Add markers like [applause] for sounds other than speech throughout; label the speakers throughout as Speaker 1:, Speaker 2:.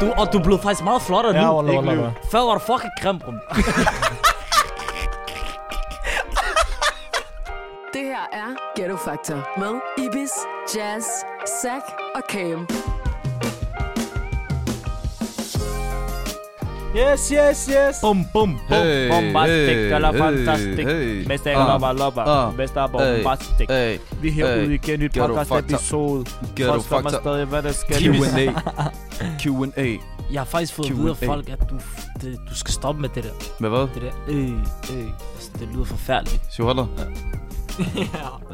Speaker 1: Du, og du blev faktisk meget flottere
Speaker 2: Ja,
Speaker 1: nu.
Speaker 2: wallah,
Speaker 3: ikke
Speaker 2: wallah,
Speaker 3: lyve.
Speaker 2: wallah.
Speaker 1: Før var du fucking kramrum.
Speaker 4: Det her er Ghetto Factor med Ibis, Jazz, Zack og Cam.
Speaker 2: Yes, yes, yes.
Speaker 1: Bum, bum, bum.
Speaker 3: Hey,
Speaker 1: Bombastic
Speaker 3: hey,
Speaker 1: eller
Speaker 3: hey,
Speaker 1: fantastic.
Speaker 3: hey.
Speaker 1: Mester
Speaker 3: Ah,
Speaker 1: lopper lopper.
Speaker 3: ah,
Speaker 1: Mester
Speaker 3: Hey,
Speaker 1: bombastic.
Speaker 3: hey,
Speaker 1: Vi er
Speaker 2: Øh,
Speaker 1: herude
Speaker 3: hey.
Speaker 1: igen i et
Speaker 3: Ghetto
Speaker 1: podcast
Speaker 3: Factor.
Speaker 1: episode.
Speaker 3: Ghetto
Speaker 1: Folk spørger mig
Speaker 3: Factor.
Speaker 1: stadig, hvad der skal.
Speaker 3: Q&A. Q&A.
Speaker 1: Jeg har faktisk fået at vide af
Speaker 3: Q&A.
Speaker 1: folk, at du, det, du skal stoppe med det der.
Speaker 3: Med hvad?
Speaker 1: Det der, øh, øh. Altså, det lyder forfærdeligt.
Speaker 3: Sig holder.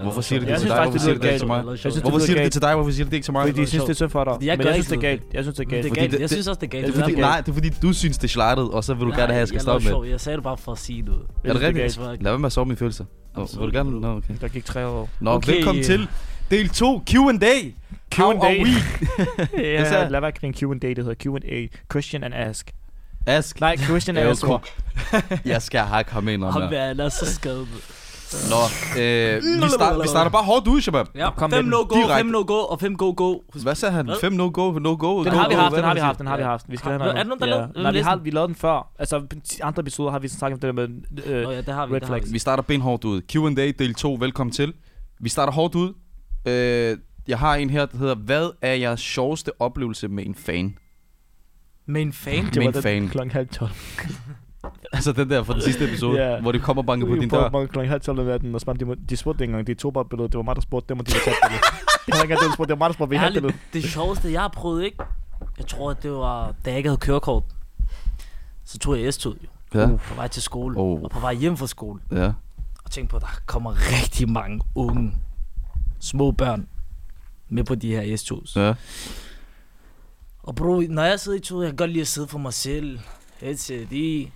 Speaker 3: Hvorfor siger du det
Speaker 1: Jeg
Speaker 3: til
Speaker 1: synes
Speaker 3: dig?
Speaker 1: faktisk,
Speaker 3: Hvorfor
Speaker 1: det
Speaker 3: siger du det
Speaker 1: lyder
Speaker 3: ikke til mig?
Speaker 1: galt. Jeg synes, det
Speaker 3: Hvorfor
Speaker 1: lyder
Speaker 3: siger du det
Speaker 1: galt.
Speaker 3: til dig? Hvorfor siger du det ikke til mig?
Speaker 2: Fordi de synes, det er synd for dig.
Speaker 1: Fordi jeg
Speaker 2: Men
Speaker 1: gør
Speaker 2: jeg
Speaker 1: ikke
Speaker 2: synes, det er
Speaker 1: sådan.
Speaker 2: galt. Jeg synes, det
Speaker 1: Det
Speaker 2: er galt.
Speaker 1: er
Speaker 3: Fordi
Speaker 1: galt.
Speaker 3: det-
Speaker 1: Jeg
Speaker 3: det-
Speaker 1: synes også, det er galt.
Speaker 3: Det
Speaker 1: Det
Speaker 3: er fordi,
Speaker 1: der galt.
Speaker 3: nej, det er fordi, du synes, det er slattet, og så vil du gerne have, at jeg skal
Speaker 1: Nej,
Speaker 3: stoppe med.
Speaker 1: laver sjov. Jeg sagde det bare for at sige noget.
Speaker 3: Er det
Speaker 2: det er
Speaker 3: rigtigt?
Speaker 1: galt.
Speaker 3: Lad være med at sove mine følelser. Nå, vil du
Speaker 1: Absolut.
Speaker 3: gerne? Nå, okay.
Speaker 2: Der gik tre år.
Speaker 3: Nå,
Speaker 1: Okay.
Speaker 3: velkommen til del 2 Q&A. How
Speaker 2: Q&A.
Speaker 3: are we? Hvad sagde
Speaker 2: [laughs] Ja,
Speaker 3: jeg?
Speaker 2: lad være at grine Q&A, det hedder Q&A. Question and ask.
Speaker 3: Ask.
Speaker 2: Nej, question and
Speaker 3: Jeg er
Speaker 2: ask.
Speaker 3: jo Jeg skal hakke ham ind om
Speaker 1: Ham
Speaker 3: her.
Speaker 1: er han er så skadet.
Speaker 3: Nå, øh, vi, start, vi starter bare hårdt ud, Shabab.
Speaker 1: Ja,
Speaker 2: kom med
Speaker 1: 5
Speaker 2: den.
Speaker 1: no-go,
Speaker 3: Direkte.
Speaker 1: 5 no-go og 5 go-go.
Speaker 3: Hvad sagde han?
Speaker 1: Hvad?
Speaker 3: 5 no-go, no-go.
Speaker 2: Den
Speaker 1: Go,
Speaker 2: har vi
Speaker 1: go,
Speaker 2: haft,
Speaker 1: hvad
Speaker 2: den har vi
Speaker 1: man
Speaker 2: haft, den har vi haft. Vi skal
Speaker 1: Har-
Speaker 2: have noget.
Speaker 1: er der nogen, der
Speaker 2: Ja.
Speaker 1: lavede-
Speaker 2: Nej, vi har
Speaker 1: listen?
Speaker 2: vi lavede den før. Altså, i andre episoder har vi snakket om det der med... øh,
Speaker 1: Nå ja, det har vi.
Speaker 2: Red
Speaker 1: det har
Speaker 2: flags.
Speaker 1: vi.
Speaker 3: Vi starter benhårdt ud. Q&A del 2, velkommen til. Vi starter hårdt ud. Øh, jeg har en her, der hedder, hvad er jeres sjoveste oplevelse med en fan?
Speaker 1: Med en fan.
Speaker 2: Det var
Speaker 3: Min
Speaker 2: den
Speaker 3: fan.
Speaker 2: klokken halv tolv.
Speaker 3: Altså den der fra den sidste episode,
Speaker 2: Ja.
Speaker 3: hvor de kommer og banker på din dør.
Speaker 2: Jeg klokken halv tolv om natten, og spurgte, de, de spurgte ikke engang, de tog bare et billede. Det var mig, der spurgte dem, og de ville tage et billede. Det var ikke engang, dem, der spurgte, det var mig, der spurgte, vi havde
Speaker 1: Ærligt,
Speaker 2: billedet.
Speaker 1: det sjoveste, jeg har prøvet, ikke? Jeg tror, at det var, da jeg ikke havde kørekort. Så tog jeg S-toget jo. Uh,
Speaker 3: Ja.
Speaker 1: På vej til skole.
Speaker 3: Oh.
Speaker 1: Og på vej hjem fra skole.
Speaker 3: Ja.
Speaker 1: Og tænkte på, at der kommer rigtig mange unge, små børn med på de her S-togs.
Speaker 3: ja.
Speaker 1: Og bro, når jeg sidder i toget, jeg kan godt lide at sidde for mig selv. Headset i.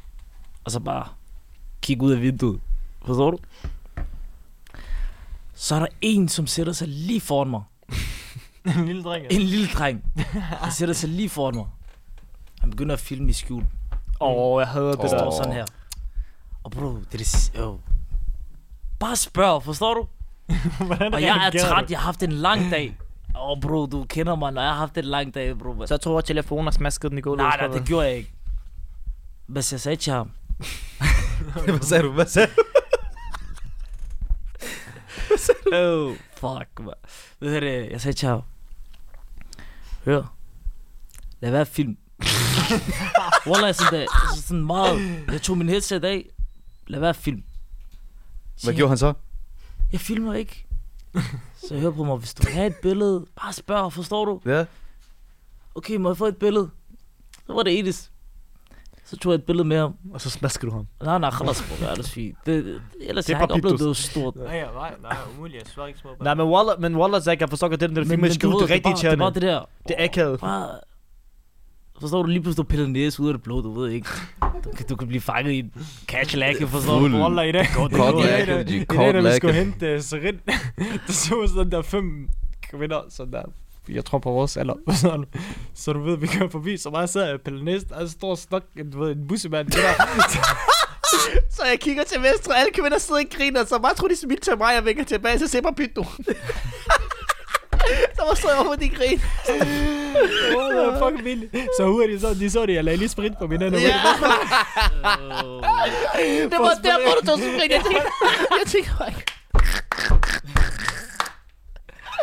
Speaker 1: Og så bare kigge ud af vinduet. Forstår du? Så er der en, som sætter sig lige foran mig.
Speaker 2: En lille dreng.
Speaker 1: En lille dreng. altså. Han sætter sig lige foran mig. Han begynder at filme i skjul.
Speaker 2: Åh, jeg hader det
Speaker 1: Det står
Speaker 2: der.
Speaker 3: Åh.
Speaker 1: sådan her. Og bro, det er det... si- Jo. Bare spørg, forstår du?
Speaker 2: Hvordan
Speaker 1: Og jeg er
Speaker 2: reagerer
Speaker 1: træt,
Speaker 2: du?
Speaker 1: jeg har haft en lang dag. Åh oh, bro, du kender mig, når jeg har haft en lang dag, bro.
Speaker 2: Så tog jeg telefonen og smaskede den i gulvet.
Speaker 1: Nej, nej, det gjorde jeg ikke. Men så sagde jeg til ham,
Speaker 3: Hvad sagde du? Hvad sagde du?
Speaker 1: Oh, fuck, man. Hvad hedder det? Jeg sagde til ham. Hør. Lad være
Speaker 2: [laughs]
Speaker 1: film. Wallah, sådan, der, altså sådan meget. Jeg tog min headset af. Lad være film. Så
Speaker 3: Hvad
Speaker 1: jeg-
Speaker 3: gjorde han så?
Speaker 1: Jeg filmer ikke. Så hør på mig, hvis du vil have et billede, bare spørg, forstår du?
Speaker 3: Ja.
Speaker 1: Okay, må jeg få et billede? Så var det Edis. Så tog jeg et billede med ham.
Speaker 2: Og så smaskede du ham.
Speaker 1: Nej, nej, خلاص, bro, det er det fint. Det, det, ellers
Speaker 2: Det er
Speaker 1: jeg har ikke
Speaker 2: bare
Speaker 1: oplevet
Speaker 2: pibdus.
Speaker 1: noget stort.
Speaker 5: Nej, ja, nej, nej, umuligt. Jeg svarer ikke små børn.
Speaker 2: Nej, men Waller, men Waller Zack, jeg forstår godt det, der
Speaker 1: Men-
Speaker 2: film
Speaker 1: men
Speaker 2: med
Speaker 1: du
Speaker 2: skjul,
Speaker 1: ved,
Speaker 2: det er rigtig
Speaker 1: bare- Det er bare
Speaker 2: irriterende.
Speaker 1: det der.
Speaker 2: Det er akavet.
Speaker 1: bare... Forstår du lige pludselig, du piller næse ud af det blå, du ved ikke. Du kan, du kan blive fanget i en catch-lack, forstår du?
Speaker 3: Fuld.
Speaker 5: Wallah, i dag.
Speaker 3: Kort
Speaker 5: i dag,
Speaker 3: lakke,
Speaker 5: i dag,
Speaker 3: de
Speaker 5: i
Speaker 3: kort
Speaker 5: dag, da vi skulle
Speaker 3: lakke.
Speaker 5: hente uh, Serin, [laughs] der så ud sådan der fem kvinder, sådan der, jeg tror på vores alder, [laughs] sådan. så du ved, vi kører forbi, så meget sidder jeg og piller næst, og så står og snak, du ved, en bussemand, det der,
Speaker 2: [laughs] Så jeg kigger til venstre, alle kvinder sidder og griner, så bare tror de smilte til mig, jeg vinker tilbage, så ser bare pyt nu. så var så over de grin.
Speaker 5: oh, det var fucking vildt. Så hurtigt, så, de så det, jeg lagde lige sprit på min hænder, ja.
Speaker 2: [laughs] Det var der, hvor du tog sprit. Jeg tænkte, jeg tænkte, fuck.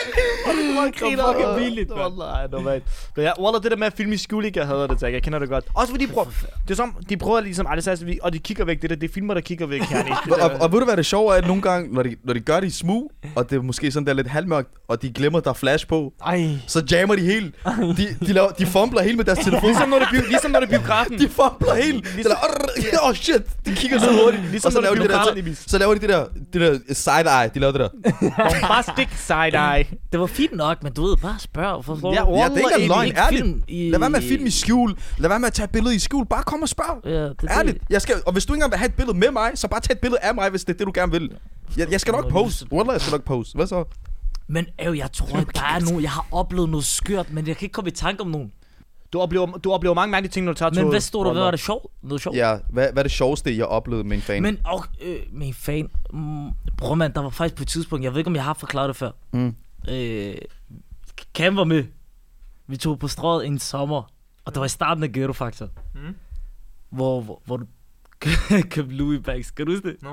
Speaker 5: det var fucking vildt, mand.
Speaker 2: Wallah, det var Men ja, Wallah, det der med at filme i skjul, ikke? jeg hader det, Zack. Jeg kender det godt. Også fordi de prøver, det er som, de prøver ligesom, ej, det er altså, og de kigger væk, det der, det er filmer, der kigger væk,
Speaker 3: [laughs]
Speaker 2: Herni. Det
Speaker 3: Og,
Speaker 2: der-
Speaker 3: og, og ved du hvad det sjove er, at nogle gange, når de, når de gør det i smug, og det er måske sådan der lidt halvmørkt, og de glemmer, der er flash på,
Speaker 5: Ej,
Speaker 3: så jammer de helt. De, de, laver, de fumbler helt med deres telefon.
Speaker 2: Ligesom når det er, bi- ligesom når det er biografen.
Speaker 3: De fumbler helt. De er like, [laughs] oh shit, de kigger så hurtigt.
Speaker 2: Ligesom
Speaker 3: og så
Speaker 2: når
Speaker 3: laver,
Speaker 2: du
Speaker 3: de det der,
Speaker 2: bliver
Speaker 3: så, så laver de det der, det der side eye, de laver det der.
Speaker 2: Bombastic side-eye.
Speaker 1: Det var fint nok, men du ved, bare spørg, forstår
Speaker 2: Ja,
Speaker 1: du?
Speaker 3: Ja, det er ikke
Speaker 2: Wallah,
Speaker 3: en løgn,
Speaker 1: Ikke
Speaker 3: ærligt.
Speaker 1: film i-
Speaker 3: Lad være med at filme i skjul. Lad være med at tage billeder i skjul. Bare kom og spørg.
Speaker 1: Ja, det, det,
Speaker 3: Ærligt. Jeg skal, og hvis du ikke engang vil have et billede med mig, så bare tag et billede af mig, hvis det er det, du gerne vil. Jeg, jeg skal nok post. Wallah, jeg skal nok post. Hvad så?
Speaker 1: Men øv, jeg tror, at der er nogen, jeg har oplevet noget skørt, men jeg kan ikke komme i tanke om nogen.
Speaker 2: Du oplever, du oplever mange mærkelige ting, når du tager toget.
Speaker 1: Men hvad stod der, hvad var
Speaker 2: Wallah.
Speaker 1: det sjovt? Noget sjovt?
Speaker 3: Ja, hvad, hvad er det sjoveste, jeg oplevede med en fan?
Speaker 1: Men og, øh, min fan, mm, bror mand, der var faktisk på et tidspunkt, jeg ved ikke, om jeg har forklaret det før.
Speaker 3: Mm.
Speaker 1: Øh, Cam var med. Vi tog på strået en sommer. Og det var i starten af Ghetto Factor,
Speaker 5: Mm.
Speaker 1: hvor, hvor, hvor du [laughs] købte Louis bags. Kan du huske det?
Speaker 5: Nå,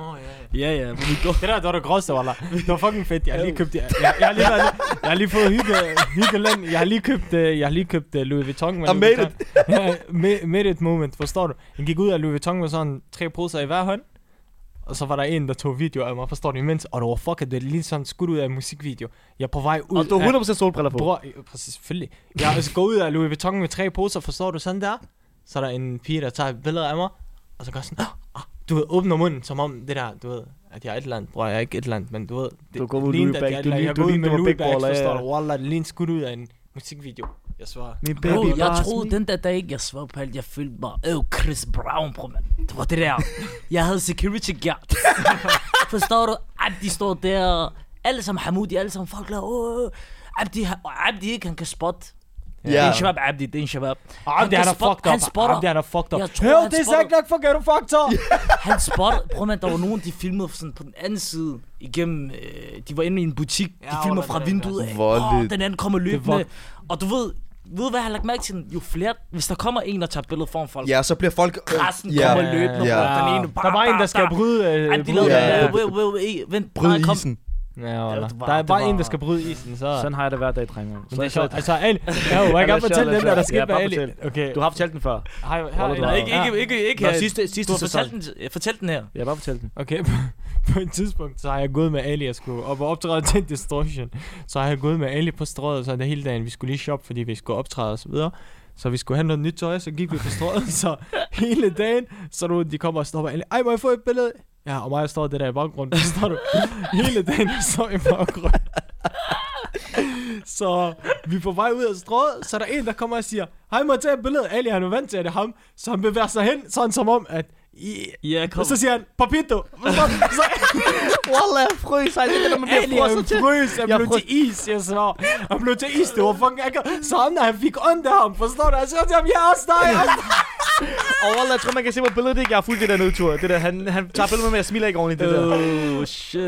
Speaker 5: ja, ja.
Speaker 1: Ja, ja, hvor vi går.
Speaker 5: Det der, det var det groveste, Walla. Det var fucking fedt. Jeg har lige købt... Jeg, jeg, jeg, har, lige været, jeg har lige fået hygge, hyggeland. Jeg har lige købt, øh, jeg har lige købt øh, Louis Vuitton. Med
Speaker 2: I
Speaker 5: Louis
Speaker 2: Ah, made
Speaker 5: Vuitton. Ja, ma- made it moment, forstår du? Jeg gik ud af Louis Vuitton med sådan tre poser i hver hånd. Og så var der en, der tog video af mig, forstår du imens? Og det var fucking, det er lige sådan skudt ud af en musikvideo. Jeg er på vej ud
Speaker 2: Og du
Speaker 5: af...
Speaker 2: har 100% solbriller på.
Speaker 5: Bror, øh, præcis, selvfølgelig. Jeg er altså gået ud af Louis Vuitton med tre poser, forstår du sådan der? Så er der en pige, der tager et billede af mig, og så gør sådan, ah, ah, du ved, åbner munden, som om det der, du ved, at jeg er et eller andet. Bror, jeg er ikke et eller andet, men du ved, det
Speaker 2: Du går ud
Speaker 5: ligner,
Speaker 2: Louis
Speaker 5: at
Speaker 2: bag.
Speaker 5: jeg er et
Speaker 2: Du
Speaker 5: eller andet.
Speaker 2: ligner-
Speaker 5: Jeg
Speaker 2: du
Speaker 5: går ud
Speaker 2: ligner
Speaker 5: med Louis Bags,
Speaker 2: baller, ja,
Speaker 5: forstår
Speaker 2: ja.
Speaker 5: du? Wallah, det ligner skudt ud af en musikvideo. Jeg svarer.
Speaker 2: Min
Speaker 1: Bro,
Speaker 2: baby
Speaker 1: jeg
Speaker 2: bare
Speaker 1: troede
Speaker 2: smil.
Speaker 1: den der dag ikke, jeg svor på alt, jeg følte mig, øh, Chris Brown, bro, mand. Det var det der. Jeg havde security guard. [laughs] Forstår du? Abdi står der, alle sammen Hamoudi, alle sammen folk laver, øh, Abdi, har- og Abdi ikke, han kan spotte. Ja. Det er en shabab, Abdi, det er en shabab.
Speaker 5: Ah, det er
Speaker 1: kan
Speaker 5: der
Speaker 1: spot-
Speaker 5: fucked up.
Speaker 1: han spotter.
Speaker 5: Ah, det er der fucked up.
Speaker 1: Jeg tror,
Speaker 5: Hør,
Speaker 1: han
Speaker 5: det er
Speaker 1: spotter.
Speaker 5: sagt nok for Ghetto Factor.
Speaker 1: [laughs] Han spottede, prøv man, der var nogen, de filmede sådan på den anden side, igennem, øh, de var inde i en butik, de
Speaker 5: Ja,
Speaker 1: filmer
Speaker 5: hvordan
Speaker 1: fra
Speaker 5: det er,
Speaker 1: vinduet af,
Speaker 3: Voldeligt.
Speaker 1: Åh, den anden kommer
Speaker 5: var-
Speaker 1: løbende, og du ved, ved du hvad, jeg har lagt mærke til, den? jo flere, hvis der kommer en og tager billeder foran folk,
Speaker 6: Ja, så bliver folk...
Speaker 1: Pressen
Speaker 6: ja.
Speaker 1: kommer løbende,
Speaker 6: Ja.
Speaker 1: bro. Den ene,
Speaker 5: Der var en, der skal bryde... øh,
Speaker 1: Ej, de
Speaker 5: bryde-
Speaker 1: lavede
Speaker 6: Ja, ja.
Speaker 1: den der, wait, wait, wait, vent,
Speaker 6: Bryd
Speaker 1: nej, kom.
Speaker 6: isen.
Speaker 5: Ja, Wallah.
Speaker 1: det var-
Speaker 5: Der er
Speaker 1: det
Speaker 5: bare en,
Speaker 1: var-
Speaker 5: der skal bryde isen, så...
Speaker 2: Sådan har jeg det hver dag, drenge.
Speaker 5: Men det er
Speaker 2: Så-
Speaker 5: sjovt. Altså,
Speaker 2: [laughs]
Speaker 5: Ali, ja, må jeg
Speaker 2: Ja,
Speaker 5: gerne
Speaker 2: lad os
Speaker 5: fortælle
Speaker 2: gøre, lad
Speaker 5: den
Speaker 2: os
Speaker 5: der, der
Speaker 2: gøre.
Speaker 5: skete
Speaker 2: Ja,
Speaker 5: med
Speaker 2: bare
Speaker 5: Ali.
Speaker 2: fortæl.
Speaker 5: Okay.
Speaker 2: Du har fortalt den før.
Speaker 5: Hej, her,
Speaker 2: Wallah,
Speaker 5: her,
Speaker 1: Nej, ikke, ikke, ikke, ikke,
Speaker 2: Nå,
Speaker 1: her.
Speaker 2: sidste,
Speaker 1: du
Speaker 2: sidste
Speaker 1: har
Speaker 2: sæson.
Speaker 1: fortalt den, øh, fortæl den her.
Speaker 2: Jeg har bare fortalt den.
Speaker 5: Okay, på- [laughs] på et tidspunkt, så har jeg gået med Ali, jeg skulle op og optræde til Distortion. Så har jeg gået med Ali på strøget, så det hele dagen, vi skulle lige shoppe, fordi vi skulle optræde og så videre. Så vi skulle have noget nyt tøj, så gik vi på strøget, [laughs] så hele dagen, så nu de kommer og stopper Ali. Ej, må jeg få et billede? Ja, og mig står det der i baggrunden, forstår du? [laughs] Hele dagen, jeg står i baggrunden. Så vi er på vej ud af strået, så er der en, der kommer og siger, hej, må jeg tage et billede? Ali, han er vant til, at det er ham. Så han bevæger sig hen, sådan som om, at "I-
Speaker 1: Ja, kom.
Speaker 5: og så siger han, papito. Så
Speaker 2: [laughs] Wallah, jeg frøs. Ej, det er der, man
Speaker 5: alien frøs, han
Speaker 2: Jeg
Speaker 5: blev
Speaker 2: frøs.
Speaker 5: til is, jeg svarer. Han blev til is, det var fucking akavet. Så han, han fik ondt af ham, forstår du? Han sagde til ham, ja, også dig, også dig."
Speaker 2: Og Wallah, jeg tror, man kan se på billedet, ikke? Jeg har fulgt det der nedtur. Det der, han, han tager billedet med mig, jeg smiler ikke ordentligt, det der.
Speaker 1: Oh, shit.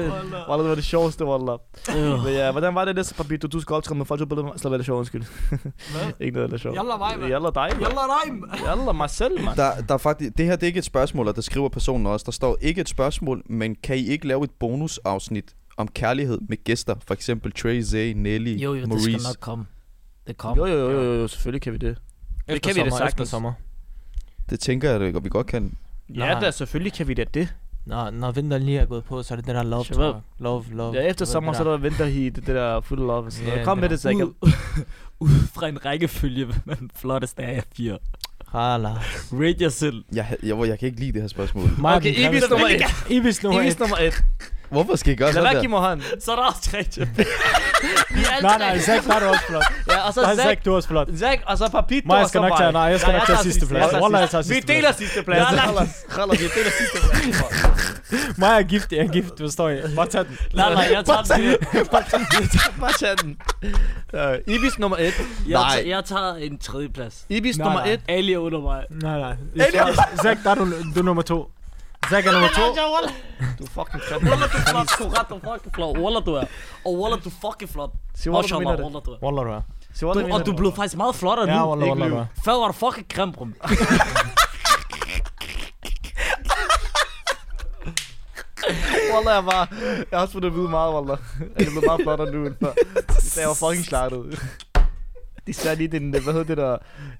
Speaker 2: Wallah, det var det sjoveste, Wallah.
Speaker 1: Øh.
Speaker 2: Men ja, hvordan var det næste papir, du, du skal optræde med folk, du billeder med? Slap af det sjovt, undskyld. [laughs] ikke noget af det sjovt.
Speaker 5: Jalla mig, mand.
Speaker 2: Jalla dig.
Speaker 5: Jalla reim.
Speaker 2: Jalla mig selv, mand.
Speaker 3: Der, der er faktisk, det her det er ikke et spørgsmål, og det skriver personen også. Der står ikke et spørgsmål, men kan I ikke lave et bonusafsnit om kærlighed med gæster? For eksempel Trey, Zay, Nelly,
Speaker 1: Jo, jo, det
Speaker 3: Maurice.
Speaker 1: skal nok komme. Det
Speaker 2: Jo,
Speaker 1: kommer.
Speaker 2: jo, jo, jo, jo, selvfølgelig kan vi det.
Speaker 5: Det
Speaker 2: kan vi da sagtens.
Speaker 5: sommer.
Speaker 3: Det tænker jeg, at vi godt kan.
Speaker 2: Ja,
Speaker 5: Nej.
Speaker 2: da, selvfølgelig kan vi da det.
Speaker 5: Nå, når vinteren lige er gået på, så er det det der love
Speaker 1: Shabab.
Speaker 5: talk. Love, love.
Speaker 2: Ja, efter sommer, så er der vinterheat, det der full love. og Sådan
Speaker 5: Ja,
Speaker 2: noget. Kom
Speaker 5: det
Speaker 2: med
Speaker 5: der.
Speaker 2: det, Zack.
Speaker 1: Ud, ud fra en rækkefølge, [laughs] hvem er den flotteste af jer fire.
Speaker 5: Hala.
Speaker 1: Rate jer selv.
Speaker 3: Jeg, ha- jeg, jeg kan ikke lide det her spørgsmål.
Speaker 2: Okay, Ibis nummer et.
Speaker 5: Ibis nummer
Speaker 2: Ibis
Speaker 5: et.
Speaker 2: nummer et.
Speaker 3: Hvorfor skal I gøre
Speaker 2: Lad
Speaker 3: sådan
Speaker 2: være,
Speaker 3: der?
Speaker 2: Kim og han.
Speaker 1: Så er der også tre tilbage. Vi er alle
Speaker 5: Nej,
Speaker 1: tre.
Speaker 5: nej, Zack, der er du også flot.
Speaker 2: Ja, og så
Speaker 5: Nej,
Speaker 2: Zack.
Speaker 5: Zack, du er også flot.
Speaker 2: Zack, og så Papito,
Speaker 5: Mig
Speaker 2: og så
Speaker 5: skal nok tage, nej, jeg skal
Speaker 2: Nej,
Speaker 5: nok
Speaker 2: jeg
Speaker 5: tage
Speaker 2: tager
Speaker 5: sidste
Speaker 2: sidste
Speaker 5: plads.
Speaker 2: plads.
Speaker 5: Wallah, jeg tager
Speaker 2: Vi
Speaker 5: sidste plads.
Speaker 2: deler sidste
Speaker 5: [laughs]
Speaker 2: plads.
Speaker 1: Ja, nej.
Speaker 2: Khalas, khalas, vi deler sidste plads.
Speaker 5: Mig er gift, jeg er gift, forstår jeg. Bare tag den.
Speaker 1: Nej, nej, jeg tager den.
Speaker 2: Bare tag den. Øh, Ibis nummer 1.
Speaker 1: Jeg,
Speaker 3: Nej.
Speaker 1: tager, jeg tager en tredje plads.
Speaker 2: Ibis
Speaker 5: Nej,
Speaker 2: nummer
Speaker 5: nej.
Speaker 2: 1.
Speaker 1: Ali er under mig.
Speaker 5: Nej, nej. Zack, der er du, du er nummer to. Zack er nummer to.
Speaker 2: Du er fucking krim.
Speaker 1: Walla, du er flot. Du er ret, du er fucking flot. Walla, du er. Og Walla, du er fucking flot.
Speaker 2: Se, hvor
Speaker 1: Og
Speaker 2: du
Speaker 1: Shama,
Speaker 2: mener det.
Speaker 1: Walla, du er.
Speaker 5: Wallah, du er.
Speaker 2: Se, hvor
Speaker 1: Du,
Speaker 2: du
Speaker 1: og
Speaker 2: mener
Speaker 1: du
Speaker 2: det.
Speaker 1: blev faktisk meget flottere
Speaker 5: Ja,
Speaker 1: nu.
Speaker 5: Wallah,
Speaker 2: ikke
Speaker 5: Wallah,
Speaker 2: lyv.
Speaker 5: du er.
Speaker 1: Før var du fucking grim, brum.
Speaker 2: Wallah, jeg var... Jeg har også fået det at vide meget, Wallah. Jeg er blevet meget flottere nu end før. Da jeg var fucking slartet. De sagde lige den, hvad hedder det der...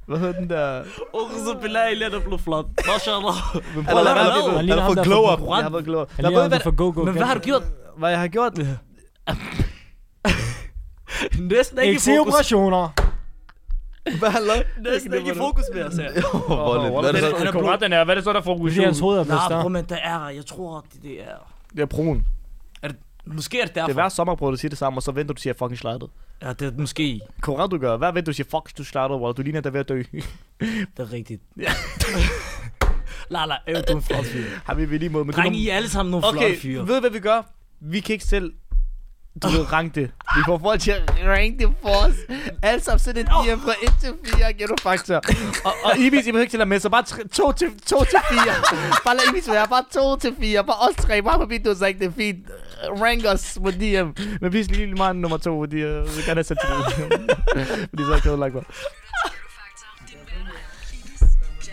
Speaker 2: Hvad hedder den der...
Speaker 1: Ukhzu billah, Ali er blevet flot. Mashallah.
Speaker 2: Men
Speaker 3: Han har
Speaker 1: Wallah,
Speaker 3: lavet-
Speaker 1: hvad?
Speaker 3: han har fået glow up.
Speaker 2: Jeg har været glad.
Speaker 5: Han
Speaker 2: Der
Speaker 5: lige
Speaker 2: ved,
Speaker 5: ham,
Speaker 2: hvad,
Speaker 5: der for go-go.
Speaker 1: Men hvad har du gjort?
Speaker 2: hvad jeg har gjort.
Speaker 1: Næsten ikke
Speaker 5: Ikke
Speaker 1: i
Speaker 5: se
Speaker 1: fokus.
Speaker 5: operationer.
Speaker 3: Hvad har lavet?
Speaker 1: Næsten ikke i fokus mere, sagde jeg.
Speaker 3: Hvor voldeligt. Hvad er det så?
Speaker 1: Han er blå.
Speaker 2: Korretten er, hvad er det så, der får
Speaker 5: Fordi hans hoved er blevet
Speaker 1: Nej,
Speaker 5: større.
Speaker 1: bro, men der er, jeg tror, det, det er...
Speaker 2: Det er brun.
Speaker 1: Måske er det
Speaker 2: Det er
Speaker 1: derfor.
Speaker 2: hver sommer, prøver du at sige det samme, og så venter du til, at jeg fucking slartet.
Speaker 1: ja, det er måske.
Speaker 2: Korrekt, du gør. Hvad venter du til, at fuck, du slartet, Wallah. Du ligner, der er ved at dø. [laughs]
Speaker 1: Det er rigtigt. [laughs] la la, øv, du er en flot fyr.
Speaker 2: Har vi ved lige måde, men du er
Speaker 1: Dreng, I er alle sammen nogle okay,
Speaker 2: Okay,
Speaker 1: flotte fyre.
Speaker 2: ved du, hvad vi gør? Vi kan ikke selv du ved, rank det. Vi får folk til at rank det for os. Alle sammen send et DM fra 1 til 4, gæt du faktor. Og, og Ibis, I behøver ikke til at med, så bare 2 til, to til 4. Bare lad Ibis være, bare 2 til 4. Bare os tre, bare på video, så ikke det er fint. Rank os på DM. Men please lige mig nummer øh, [laughs] 2, fordi jeg vil gerne have sat til det. Fordi så er jeg kædet lagt mig.
Speaker 4: Ghetto Factor. Din hverdag.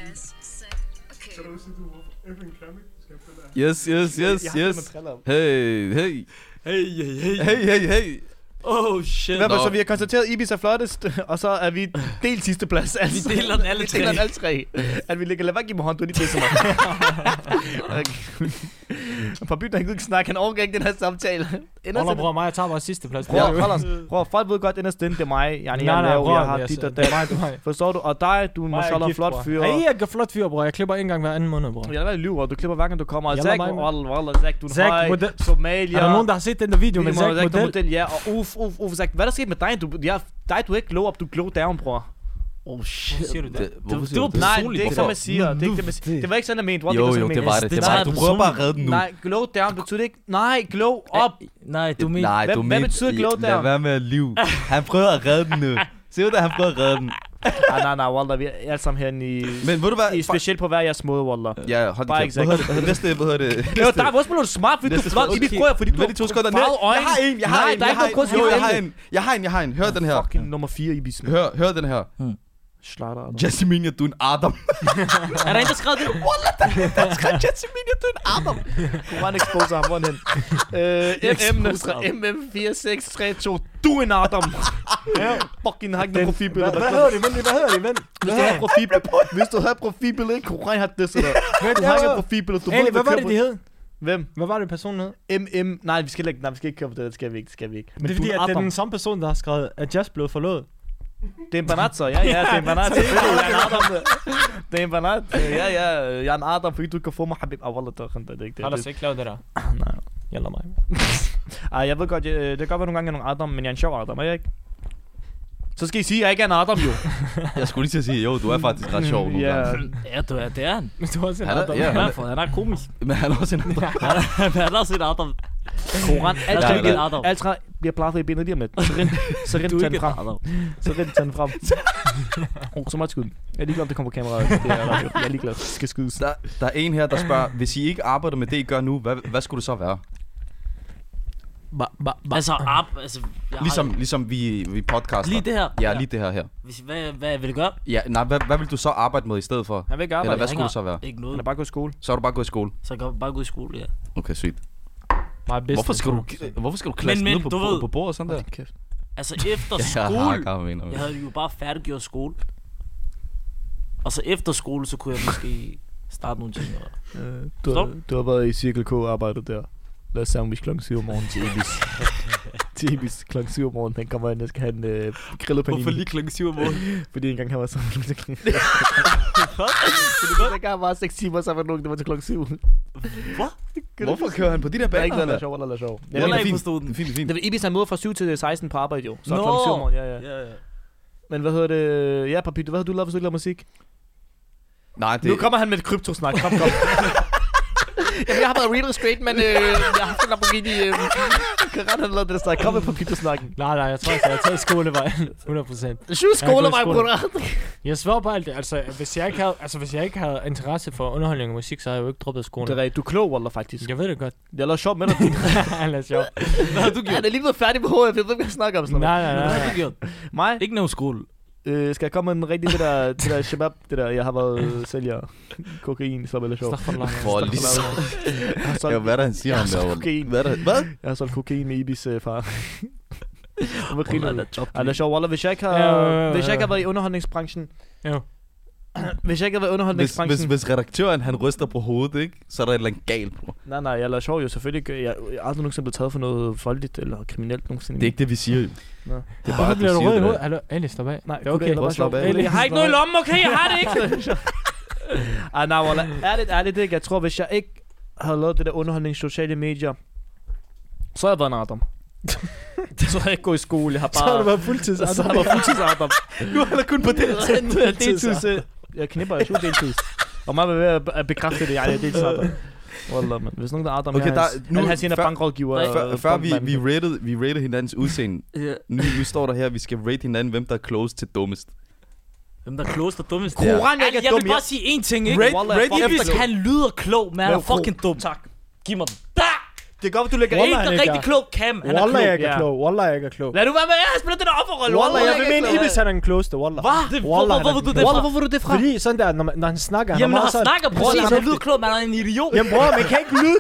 Speaker 3: Yes, yes, yes, yes. Hey, hey.
Speaker 1: Hey, hey, hey.
Speaker 3: Hey, hey, hey.
Speaker 1: Oh shit.
Speaker 2: Hvad var
Speaker 3: Nå.
Speaker 2: så, vi har konstateret, at Ibis er flottest, [laughs] og så er vi delt sidste
Speaker 5: [laughs]
Speaker 2: plads. Altså.
Speaker 1: Vi deler den alle
Speaker 2: vi deler
Speaker 1: tre.
Speaker 2: den alle tre. At vi ligger, lad være give mig hånd, du er lige pisse
Speaker 5: [laughs]
Speaker 2: mig. Og Fra byen, han kunne ikke snakke, han overgav ikke den her samtale. Ender
Speaker 5: Roller,
Speaker 2: sådan-
Speaker 5: bror, mig, jeg tager bare sidste plads.
Speaker 2: Prøv, hold os. Prøv, folk ved godt, inderst inde, det er mig. Jeg, jeg,
Speaker 5: Nej, nej,
Speaker 2: laver,
Speaker 5: bror,
Speaker 2: jeg har
Speaker 5: jeg
Speaker 2: dit
Speaker 5: sagde-
Speaker 2: og dat.
Speaker 5: det er mig, det er mig.
Speaker 2: Forstår du? Og dig, du er en mashallah flot fyr.
Speaker 5: Hey, jeg er flot fyr, bror. Jeg klipper en gang hver anden måned, bror.
Speaker 2: Jeg lader være lyver, du klipper hverken, du kommer. Og
Speaker 5: Jeg
Speaker 2: Zach,
Speaker 5: lader mig-
Speaker 2: wallah, wallah, Zach, du er
Speaker 5: Zach,
Speaker 2: høj,
Speaker 5: model-
Speaker 2: Somalia.
Speaker 5: Er der nogen, der har set den der video med Zach Model?
Speaker 2: model? Ja, og uff, uff, uff, Zach, hvad er der sket med dig? Du, ja, dig, du er ikke glow up, du er glow down, bror.
Speaker 1: Oh shit.
Speaker 5: siger du det?
Speaker 1: Det, det, var
Speaker 2: Nej, det
Speaker 1: personligt.
Speaker 2: er ikke sådan, man siger. Det, er ikke, det, man siger. det var ikke sådan, jeg mente. What, var sådan, jeg mente.
Speaker 1: det var det. Du prøver bare at
Speaker 3: redde
Speaker 2: Nej, glow down betyder ikke... Nej, glow up.
Speaker 1: Nej, du mener...
Speaker 3: Nej,
Speaker 2: Hvad-
Speaker 3: du
Speaker 2: hvad
Speaker 3: mente-
Speaker 2: betyder glow
Speaker 3: Lad
Speaker 2: down?
Speaker 3: være med at liv. Han prøver at redde den nu. Se du, han prøver at redde den.
Speaker 2: Nej, nej, nej, Walter, vi er alle sammen herinde i...
Speaker 3: Men ved du hvad?
Speaker 2: I specielt på hver jeres måde, Walter.
Speaker 3: Ja, hold
Speaker 2: Bare
Speaker 3: det
Speaker 2: ikke
Speaker 3: kæft. Hvad hedder det? Næste, hvad hedder det?
Speaker 2: Det var dig, hvorfor spiller du smart, fordi du er
Speaker 3: Næste
Speaker 2: flot?
Speaker 3: spørgsmål.
Speaker 2: I dit grøn, fordi du
Speaker 3: Lad de to sekunder ned.
Speaker 2: farvede øjne.
Speaker 3: Jeg har en, jeg har
Speaker 2: Nej,
Speaker 3: en,
Speaker 2: der er
Speaker 3: jeg
Speaker 2: ikke nogen
Speaker 3: har
Speaker 2: grund til
Speaker 3: Jo,
Speaker 2: at
Speaker 3: jeg har
Speaker 2: vælge.
Speaker 3: en, jeg har en, jeg har en. Hør den her.
Speaker 2: Fucking nummer 4 i bisen.
Speaker 3: Hør, hør den her.
Speaker 2: Slatter. altså.
Speaker 3: Jasmine, du er en Adam.
Speaker 1: Er der en, der skrev
Speaker 3: [laughs]
Speaker 1: det?
Speaker 3: Jasmine, du er en Adam.
Speaker 2: Koran exposer ham, hvorhen? Øh, MM, MM4632, du en Adam. Fucking har ikke noget profilbillede.
Speaker 5: Hvad hedder det? Vent lige, hvad hedder det? Vent.
Speaker 2: Hvis du har profilbillede, hvis du har profilbillede, Koran har det sådan.
Speaker 5: Vent,
Speaker 2: Du har ikke et profilbillede, du ved,
Speaker 5: Ali, hvad var
Speaker 2: kører
Speaker 5: det,
Speaker 2: på-
Speaker 5: de hed?
Speaker 2: Hvem?
Speaker 5: Hvad var det, personen hed?
Speaker 2: MM, nej, vi skal ikke, nej, vi skal ikke køre på det, det skal vi ikke, det skal vi ikke.
Speaker 5: Men det er
Speaker 2: du
Speaker 5: fordi,
Speaker 2: en
Speaker 5: at det er
Speaker 2: Adam.
Speaker 5: den samme person, der har skrevet, at Jazz blev forlået.
Speaker 2: Det er en banat, så. Ja, ja, det er en
Speaker 5: [laughs]
Speaker 2: banat. Det er en Adam. Det er en banat. Ja, ja, jeg er en Adam, fordi du ikke kan få mig, Habib. Ah, wallah, det er det er ikke det. det.
Speaker 5: ikke lavet det der?
Speaker 2: Nej.
Speaker 5: Jalla mig.
Speaker 2: [laughs] Ej, jeg ved godt, jeg, det kan godt være nogle gange, jeg er nogle Adam, men jeg er en sjov Adam, er jeg ikke? Så skal I sige, at jeg ikke er en Adam, jo.
Speaker 3: Jeg skulle lige til at sige, jo, du er faktisk ret sjov nogle
Speaker 2: Ja.
Speaker 3: gange.
Speaker 1: Ja, du er, det er han.
Speaker 5: Men du har også en
Speaker 3: Han er-
Speaker 5: Adam.
Speaker 3: ja.
Speaker 1: I hvert fald, han er komisk.
Speaker 3: [laughs] Men han er også en Adam.
Speaker 1: Han er også en Adam.
Speaker 2: Koran, alt
Speaker 1: Der
Speaker 3: er
Speaker 2: skal
Speaker 3: ikke
Speaker 2: ikke
Speaker 1: en Adam. [laughs]
Speaker 2: Alt skal bliver plafet i benet lige om lidt. Så rind, så rind
Speaker 1: Du er
Speaker 2: tanden
Speaker 1: ikke en
Speaker 2: frem.
Speaker 1: Adam.
Speaker 2: Så rind tanden
Speaker 5: [laughs]
Speaker 2: frem. Oh, så meget skud. Jeg er ligeglad, om det kommer på kameraet. Det er radio. Jeg er ligeglad. Det skal skydes.
Speaker 3: Der, der er en her, der spørger, hvis I ikke arbejder med det, I gør nu, hvad, hvad skulle det så være?
Speaker 5: Ba, ba, ba.
Speaker 1: Altså, op, altså... Jeg har-
Speaker 3: Ligesom, ligesom vi, vi podcaster.
Speaker 1: Lige det her.
Speaker 3: Ja, lige det her her.
Speaker 1: Hvis, hvad, hvad vil du gøre?
Speaker 3: Ja, nej, hvad, hvad vil du så arbejde med i stedet for?
Speaker 2: Han vil ikke
Speaker 3: Eller
Speaker 2: arbejde.
Speaker 3: hvad skulle
Speaker 1: ringer.
Speaker 3: det så være?
Speaker 1: Ikke
Speaker 2: Han
Speaker 1: noget.
Speaker 2: er bare gået i skole.
Speaker 3: Så er du bare gået i skole.
Speaker 1: Så kan man bare gå i skole, ja.
Speaker 3: Okay, sygt.
Speaker 5: My business.
Speaker 3: Hvorfor skal du, hvorfor skal du klasse
Speaker 1: men,
Speaker 3: ned på,
Speaker 1: du
Speaker 3: på,
Speaker 1: ved-
Speaker 3: på bordet sådan der?
Speaker 2: Kæft.
Speaker 3: [laughs]
Speaker 1: Altså, efter
Speaker 3: Jeg
Speaker 1: skole...
Speaker 3: hakker, mener du.
Speaker 1: Jeg havde jo bare færdiggjort skole. Og så efter skole, så kunne jeg måske starte nogle ting. eller-
Speaker 2: Øh, Du,
Speaker 1: Stop.
Speaker 2: har- du har været i Cirkel K og arbejdet der. Lavet sandwich klokken 7 om morgenen til [laughs] Ibis. til Ibis klokken 7 om morgenen. Han kommer ind og skal have en øh, grillet panini.
Speaker 5: klokken 7 om morgenen?
Speaker 2: Fordi engang han var sammen med klokken [laughs] 7. Fordi engang var 6 timer sammen med nogen, der var til klokken 7.
Speaker 1: Hvad?
Speaker 3: Hvorfor kører han på de der
Speaker 2: Det er ikke noget, der
Speaker 3: baner? mand?
Speaker 2: er sjov, eller der er sjov.
Speaker 1: Jeg heller
Speaker 3: det er
Speaker 1: ikke
Speaker 3: fint.
Speaker 1: forstod den.
Speaker 3: Det er fint, det er fint.
Speaker 2: Det Ibis han møder fra 7 til 16 på arbejde jo. Så
Speaker 1: Nå.
Speaker 2: klokken 7 om morgenen, ja, ja.
Speaker 1: Ja, ja.
Speaker 2: Men hvad hedder det? Ja, Papi, du- hvad havde du lavet, hvis du ikke lavede musik?
Speaker 3: Nej, det,
Speaker 2: Nu kommer han med et kryptosnak. Kom, kom. [laughs] Jamen, jeg har været real straight, men øh, jeg har haft en Lamborghini. Øh, Karan har lavet det der snak. Kom med Papi-snakken.
Speaker 5: Nej, nej, jeg tror ikke, jeg har taget skolevejen. 100%.
Speaker 2: Syv skoler,
Speaker 5: Jeg
Speaker 2: mig,
Speaker 5: er gået i
Speaker 2: bror.
Speaker 5: Jeg svær på alt det. Altså, hvis jeg ikke havde, altså, hvis jeg ikke havde interesse for underholdning og musik, så havde jeg jo ikke droppet skolen.
Speaker 2: Det er rigtigt. Du er klog, Walter, faktisk.
Speaker 5: Jeg ved det godt. [laughs]
Speaker 2: Jeg laver sjov med dig. [laughs]
Speaker 5: Han er sjov.
Speaker 1: Hvad har du gjort?
Speaker 2: Han er lige blevet færdig på HF. Jeg ved ikke, hvad jeg snakker om.
Speaker 5: Nej,
Speaker 2: Slapper.
Speaker 5: nej,
Speaker 1: Hvad
Speaker 5: nej.
Speaker 1: har du gjort?
Speaker 2: Mig?
Speaker 1: Ikke nævn skole.
Speaker 2: Øh, skal jeg komme med en rigtig det der, det der shabab, det der, jeg har været øh, sælger kokain, slap eller sjov.
Speaker 5: Astaghfirullah.
Speaker 3: For lige så...
Speaker 5: [laughs]
Speaker 2: Jeg har
Speaker 3: Ja,
Speaker 2: solgt,
Speaker 3: hvad er der, han siger
Speaker 2: Jeg
Speaker 3: ham
Speaker 2: er så kokain.
Speaker 3: derovre? Hvad er der? Hvad?
Speaker 2: jeg har solgt kokain med Ibis øh, [laughs] far. Hvor griner
Speaker 1: Wallah,
Speaker 2: du?
Speaker 1: der er job.
Speaker 2: Ej, det er sjovt, Wallah, hvis jeg ikke har,
Speaker 5: Ja, ja, ja, ja.
Speaker 2: hvis jeg ikke har været i underholdningsbranchen,
Speaker 5: Jo.
Speaker 2: [clears throat] hvis jeg ikke har været i
Speaker 3: Hvis, hvis,
Speaker 2: underholdningsbranchen,
Speaker 3: hvis redaktøren han ryster på hovedet, ikke? så er der et eller andet galt, bror.
Speaker 2: nej, nej, jeg lader sjov jo selvfølgelig, ikke. jeg, jeg er aldrig nogensinde blevet taget for noget voldeligt eller kriminelt nogensinde.
Speaker 3: Det er ikke det, vi siger jo.
Speaker 2: Nå.
Speaker 3: Det er bare,
Speaker 5: Hvorfor
Speaker 3: at du
Speaker 5: bliver du
Speaker 3: siger
Speaker 5: rød i
Speaker 3: det
Speaker 5: hovedet?
Speaker 3: der.
Speaker 5: Hallo, Ali, stop af.
Speaker 2: Nej,
Speaker 5: det er okay.
Speaker 2: Eller bare
Speaker 3: Slap
Speaker 2: slappe
Speaker 3: af.
Speaker 2: af.
Speaker 5: Ali,
Speaker 1: Jeg har ikke
Speaker 5: [laughs]
Speaker 1: noget i lommen, okay? Jeg har det ikke.
Speaker 2: [laughs] Ej, Ah, nej, Walla. Ærligt, ærligt ikke. Jeg tror, hvis jeg ikke havde lavet det der underholdning i sociale medier, så havde jeg været en Adam. så havde jeg ikke gået i skole. Jeg har bare...
Speaker 5: Så har du været fuldtids.
Speaker 2: så havde jeg
Speaker 5: [laughs]
Speaker 2: været fuldtids Adam.
Speaker 3: Nu er der kun på det.
Speaker 2: Nu er jeg deltids... øh, Jeg knipper, jeg tror deltids. Og mig vil være ved at bekræfte det, jeg er deltids Adam. Wallah, man. Hvis nogen der er Adam,
Speaker 3: Okay,
Speaker 2: okay, jeg
Speaker 3: der-
Speaker 2: er
Speaker 3: nu-
Speaker 2: hans en af
Speaker 3: før-
Speaker 2: bankrådgiver. øh,
Speaker 3: Før, før vi, vi, rated, vi rated hinandens udseende.
Speaker 1: Ja.
Speaker 3: Nu, nu står der her, at vi skal rate hinanden, hvem der er close til dummest.
Speaker 1: Hvem der er klogest og dummest?
Speaker 3: Ja.
Speaker 2: Koran, jeg
Speaker 1: Ej,
Speaker 2: ikke er
Speaker 1: jeg
Speaker 2: dum.
Speaker 1: vil bare sige én ting, ikke?
Speaker 3: Rate- rate
Speaker 1: Ibis,
Speaker 3: efter-
Speaker 1: han lyder klog, men han
Speaker 2: Lav
Speaker 1: er fucking dum.
Speaker 2: Tak.
Speaker 1: Giv mig den. Da!
Speaker 5: Det er godt, at du lægger
Speaker 1: En,
Speaker 5: en.
Speaker 1: der
Speaker 6: Wallah,
Speaker 1: er
Speaker 6: han
Speaker 1: rigtig
Speaker 6: ikke er.
Speaker 1: klog, Cam. Han er
Speaker 6: Wallah, jeg
Speaker 1: klog.
Speaker 6: er ikke
Speaker 5: ja.
Speaker 6: klog. Wallah, jeg er ikke er klog.
Speaker 1: Lad nu være med at spille den offerrolle.
Speaker 6: Wallah, jeg vil
Speaker 1: ikke
Speaker 6: mene,
Speaker 1: klog.
Speaker 6: Ibis han er den klogeste, Wallah.
Speaker 1: Hvad? Det- Hvorfor
Speaker 6: Wallah, han er
Speaker 1: hvorfor ved
Speaker 6: den
Speaker 1: du det
Speaker 6: klogeste.
Speaker 1: fra?
Speaker 6: Wallah,
Speaker 1: Hvorfor ved du det fra?
Speaker 6: Fordi sådan der, når, man- når han snakker, han
Speaker 1: Jamen,
Speaker 6: er
Speaker 1: når
Speaker 6: meget
Speaker 1: han
Speaker 6: sådan...
Speaker 1: snakker, præcis,
Speaker 6: Wallah,
Speaker 1: så
Speaker 6: han er-
Speaker 1: lyder klog, man er en idiot.
Speaker 6: Jamen bror, man kan ikke lyde.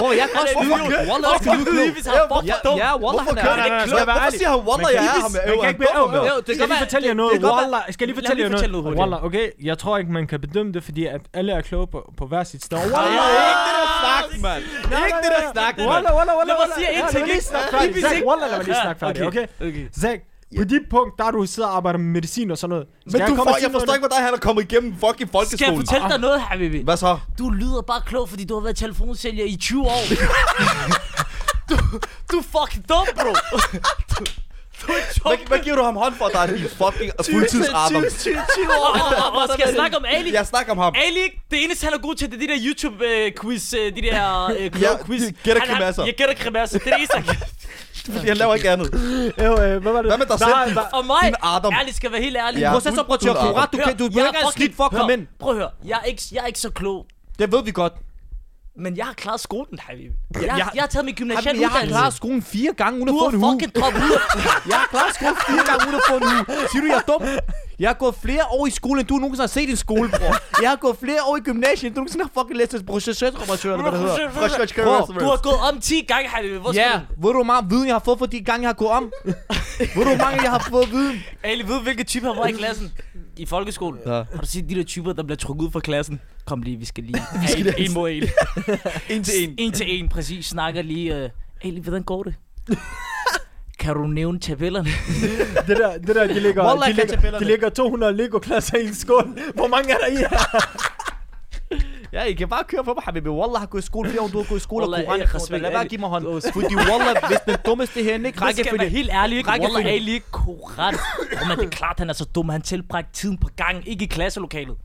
Speaker 2: Prøv, jeg kan
Speaker 1: Han er en
Speaker 2: også
Speaker 1: idiot. Wallah, han er klog. Ibis, han er fucking dum.
Speaker 2: Ja, Wallah,
Speaker 3: Hvorfor
Speaker 2: han
Speaker 3: kører
Speaker 2: er...
Speaker 3: han
Speaker 5: nej,
Speaker 3: ikke
Speaker 5: nej,
Speaker 3: klog?
Speaker 5: lad være
Speaker 3: Hvorfor
Speaker 5: ærlig.
Speaker 3: siger han, Wallah, jeg er ham?
Speaker 5: Man kan ikke være...
Speaker 3: Øv,
Speaker 5: Øv,
Speaker 3: øv,
Speaker 5: øv,
Speaker 1: kan
Speaker 5: Skal jeg
Speaker 1: være-
Speaker 5: lige fortælle jer
Speaker 1: det- det
Speaker 5: noget?
Speaker 1: kan godt være-
Speaker 5: Wallah, skal jeg lige
Speaker 1: Lad
Speaker 5: fortælle
Speaker 1: lige
Speaker 5: jer noget?
Speaker 1: fortælle noget hurtigt.
Speaker 5: Wallah, okay. Jeg tror ikke, man kan bedømme det, fordi at alle er kloge på, på hver sit sted. Wallah,
Speaker 1: Ja,
Speaker 5: jeg-
Speaker 3: Ikke det der snak, mand. Ikke det der snak, mand.
Speaker 6: Wallah, wallah, wallah.
Speaker 1: Lad mig
Speaker 6: wallah.
Speaker 1: sige
Speaker 6: Ja,
Speaker 1: en
Speaker 6: lad
Speaker 1: ting,
Speaker 6: mig lige
Speaker 1: ikke?
Speaker 6: snakke færdigt.
Speaker 1: Ibis,
Speaker 6: Zack,
Speaker 1: ikke?
Speaker 6: Wallah, lad mig lige snakke færdigt, okay?
Speaker 1: okay.
Speaker 6: Zack, på dit punkt, der er du sidder og arbejder med medicin og sådan noget.
Speaker 3: Men du,
Speaker 6: kommer
Speaker 3: for,
Speaker 6: til
Speaker 3: jeg forstår
Speaker 6: noget-
Speaker 3: ikke, hvordan han er kommet igennem fucking
Speaker 1: Skal jeg
Speaker 3: folkeskolen.
Speaker 1: fortælle dig noget, Habibi?
Speaker 3: Hvad så?
Speaker 1: Du lyder bare klog, fordi du har været telefonsælger i 20 år. du, du er fucking dum, bro. Du, du er
Speaker 3: Hvad,
Speaker 1: chok.
Speaker 3: hvad giver du ham hånd for, der er din fucking fuldtidsarbejde?
Speaker 1: Hvad skal jeg snakke om Ali?
Speaker 3: Jeg snakker om ham.
Speaker 1: Ali, det eneste han er god til, det er de der YouTube-quiz, de der øh, kloge
Speaker 3: Ja,
Speaker 1: quiz.
Speaker 3: de gætter
Speaker 1: Han- han-
Speaker 3: grimasser.
Speaker 1: Jeg gætter krimasser, det er det eneste, han kan.
Speaker 3: Fordi han laver ikke andet.
Speaker 6: Jo, øh, hvad var det?
Speaker 3: Hvad med dig
Speaker 6: Der
Speaker 3: selv,
Speaker 6: har-
Speaker 3: din
Speaker 6: der-
Speaker 1: For mig,
Speaker 3: Din Adam.
Speaker 1: ærligt skal være helt ærlig.
Speaker 3: Ja.
Speaker 1: Prøv at-
Speaker 2: Processorbratør,
Speaker 3: Du- du-
Speaker 2: korrekt, du, kan, du
Speaker 1: Hør, jeg
Speaker 2: behøver ikke
Speaker 1: er
Speaker 2: engang
Speaker 1: fucking-
Speaker 2: skidt for at
Speaker 1: hør,
Speaker 2: komme ind.
Speaker 1: Prøv at høre, jeg er ikke, jeg er ikke så klog.
Speaker 2: Det ved vi godt.
Speaker 1: Men jeg har klaret skolen, Habibi. Jeg, jeg,
Speaker 2: jeg-
Speaker 1: jeg har taget min gymnasial
Speaker 2: Jamen, jeg har
Speaker 1: uddannelse.
Speaker 2: klaret skolen fire gange uden at
Speaker 1: Du
Speaker 2: få
Speaker 1: har
Speaker 2: en hue.
Speaker 1: fucking droppet ud.
Speaker 2: Jeg har klaret skolen fire gange uden at få en hue. Siger du, jeg er dum? Jeg har gået flere år i skole, end du nogensinde har set i en skole, bror. Jeg har gået flere år i gymnasiet, end du nogensinde har fucking læst til processorbratør, eller hvad det hedder.
Speaker 1: Du har gået om 10 gange, Habibi. Hvor
Speaker 2: Ja,
Speaker 1: skal du?
Speaker 2: ved du, hvor meget viden jeg har fået for de gange, jeg har gået om? ved du, hvor mange jeg har fået viden?
Speaker 1: Ali, ved du, hvilke typer han var i klassen? I folkeskolen.
Speaker 3: Ja.
Speaker 1: Har du set de der typer, der bliver trukket ud fra klassen? Kom lige, vi skal lige. Vi skal en mod en.
Speaker 3: En til en.
Speaker 1: En til en, præcis. Snakker lige. Øh, Ali, hvordan går det? kan du nævne tabellerne?
Speaker 6: Det der, det der, de ligger,
Speaker 2: Wallah,
Speaker 6: de
Speaker 2: jeg kan
Speaker 6: ligger, de ligger 200 Lego-klasser i en skål. Hvor mange er der i her?
Speaker 2: Ja, I kan bare køre på mig, Habibi. Wallah har gået i skole flere år, du har gået i skole og
Speaker 1: Wallah,
Speaker 2: koran.
Speaker 1: jeg
Speaker 2: i forhold til.
Speaker 1: respekt-
Speaker 2: Lad være at give mig hånd. Fordi Wallah, hvis den dummeste her ikke
Speaker 1: Række skal være
Speaker 2: rækkefølge.
Speaker 1: helt ærlig, ikke?
Speaker 2: Rækkefølge.
Speaker 1: Wallah, Ali ikke korrekt. Oh, men det er klart, han er så dum. Han tilbragte tiden på gang, ikke i klasselokalet.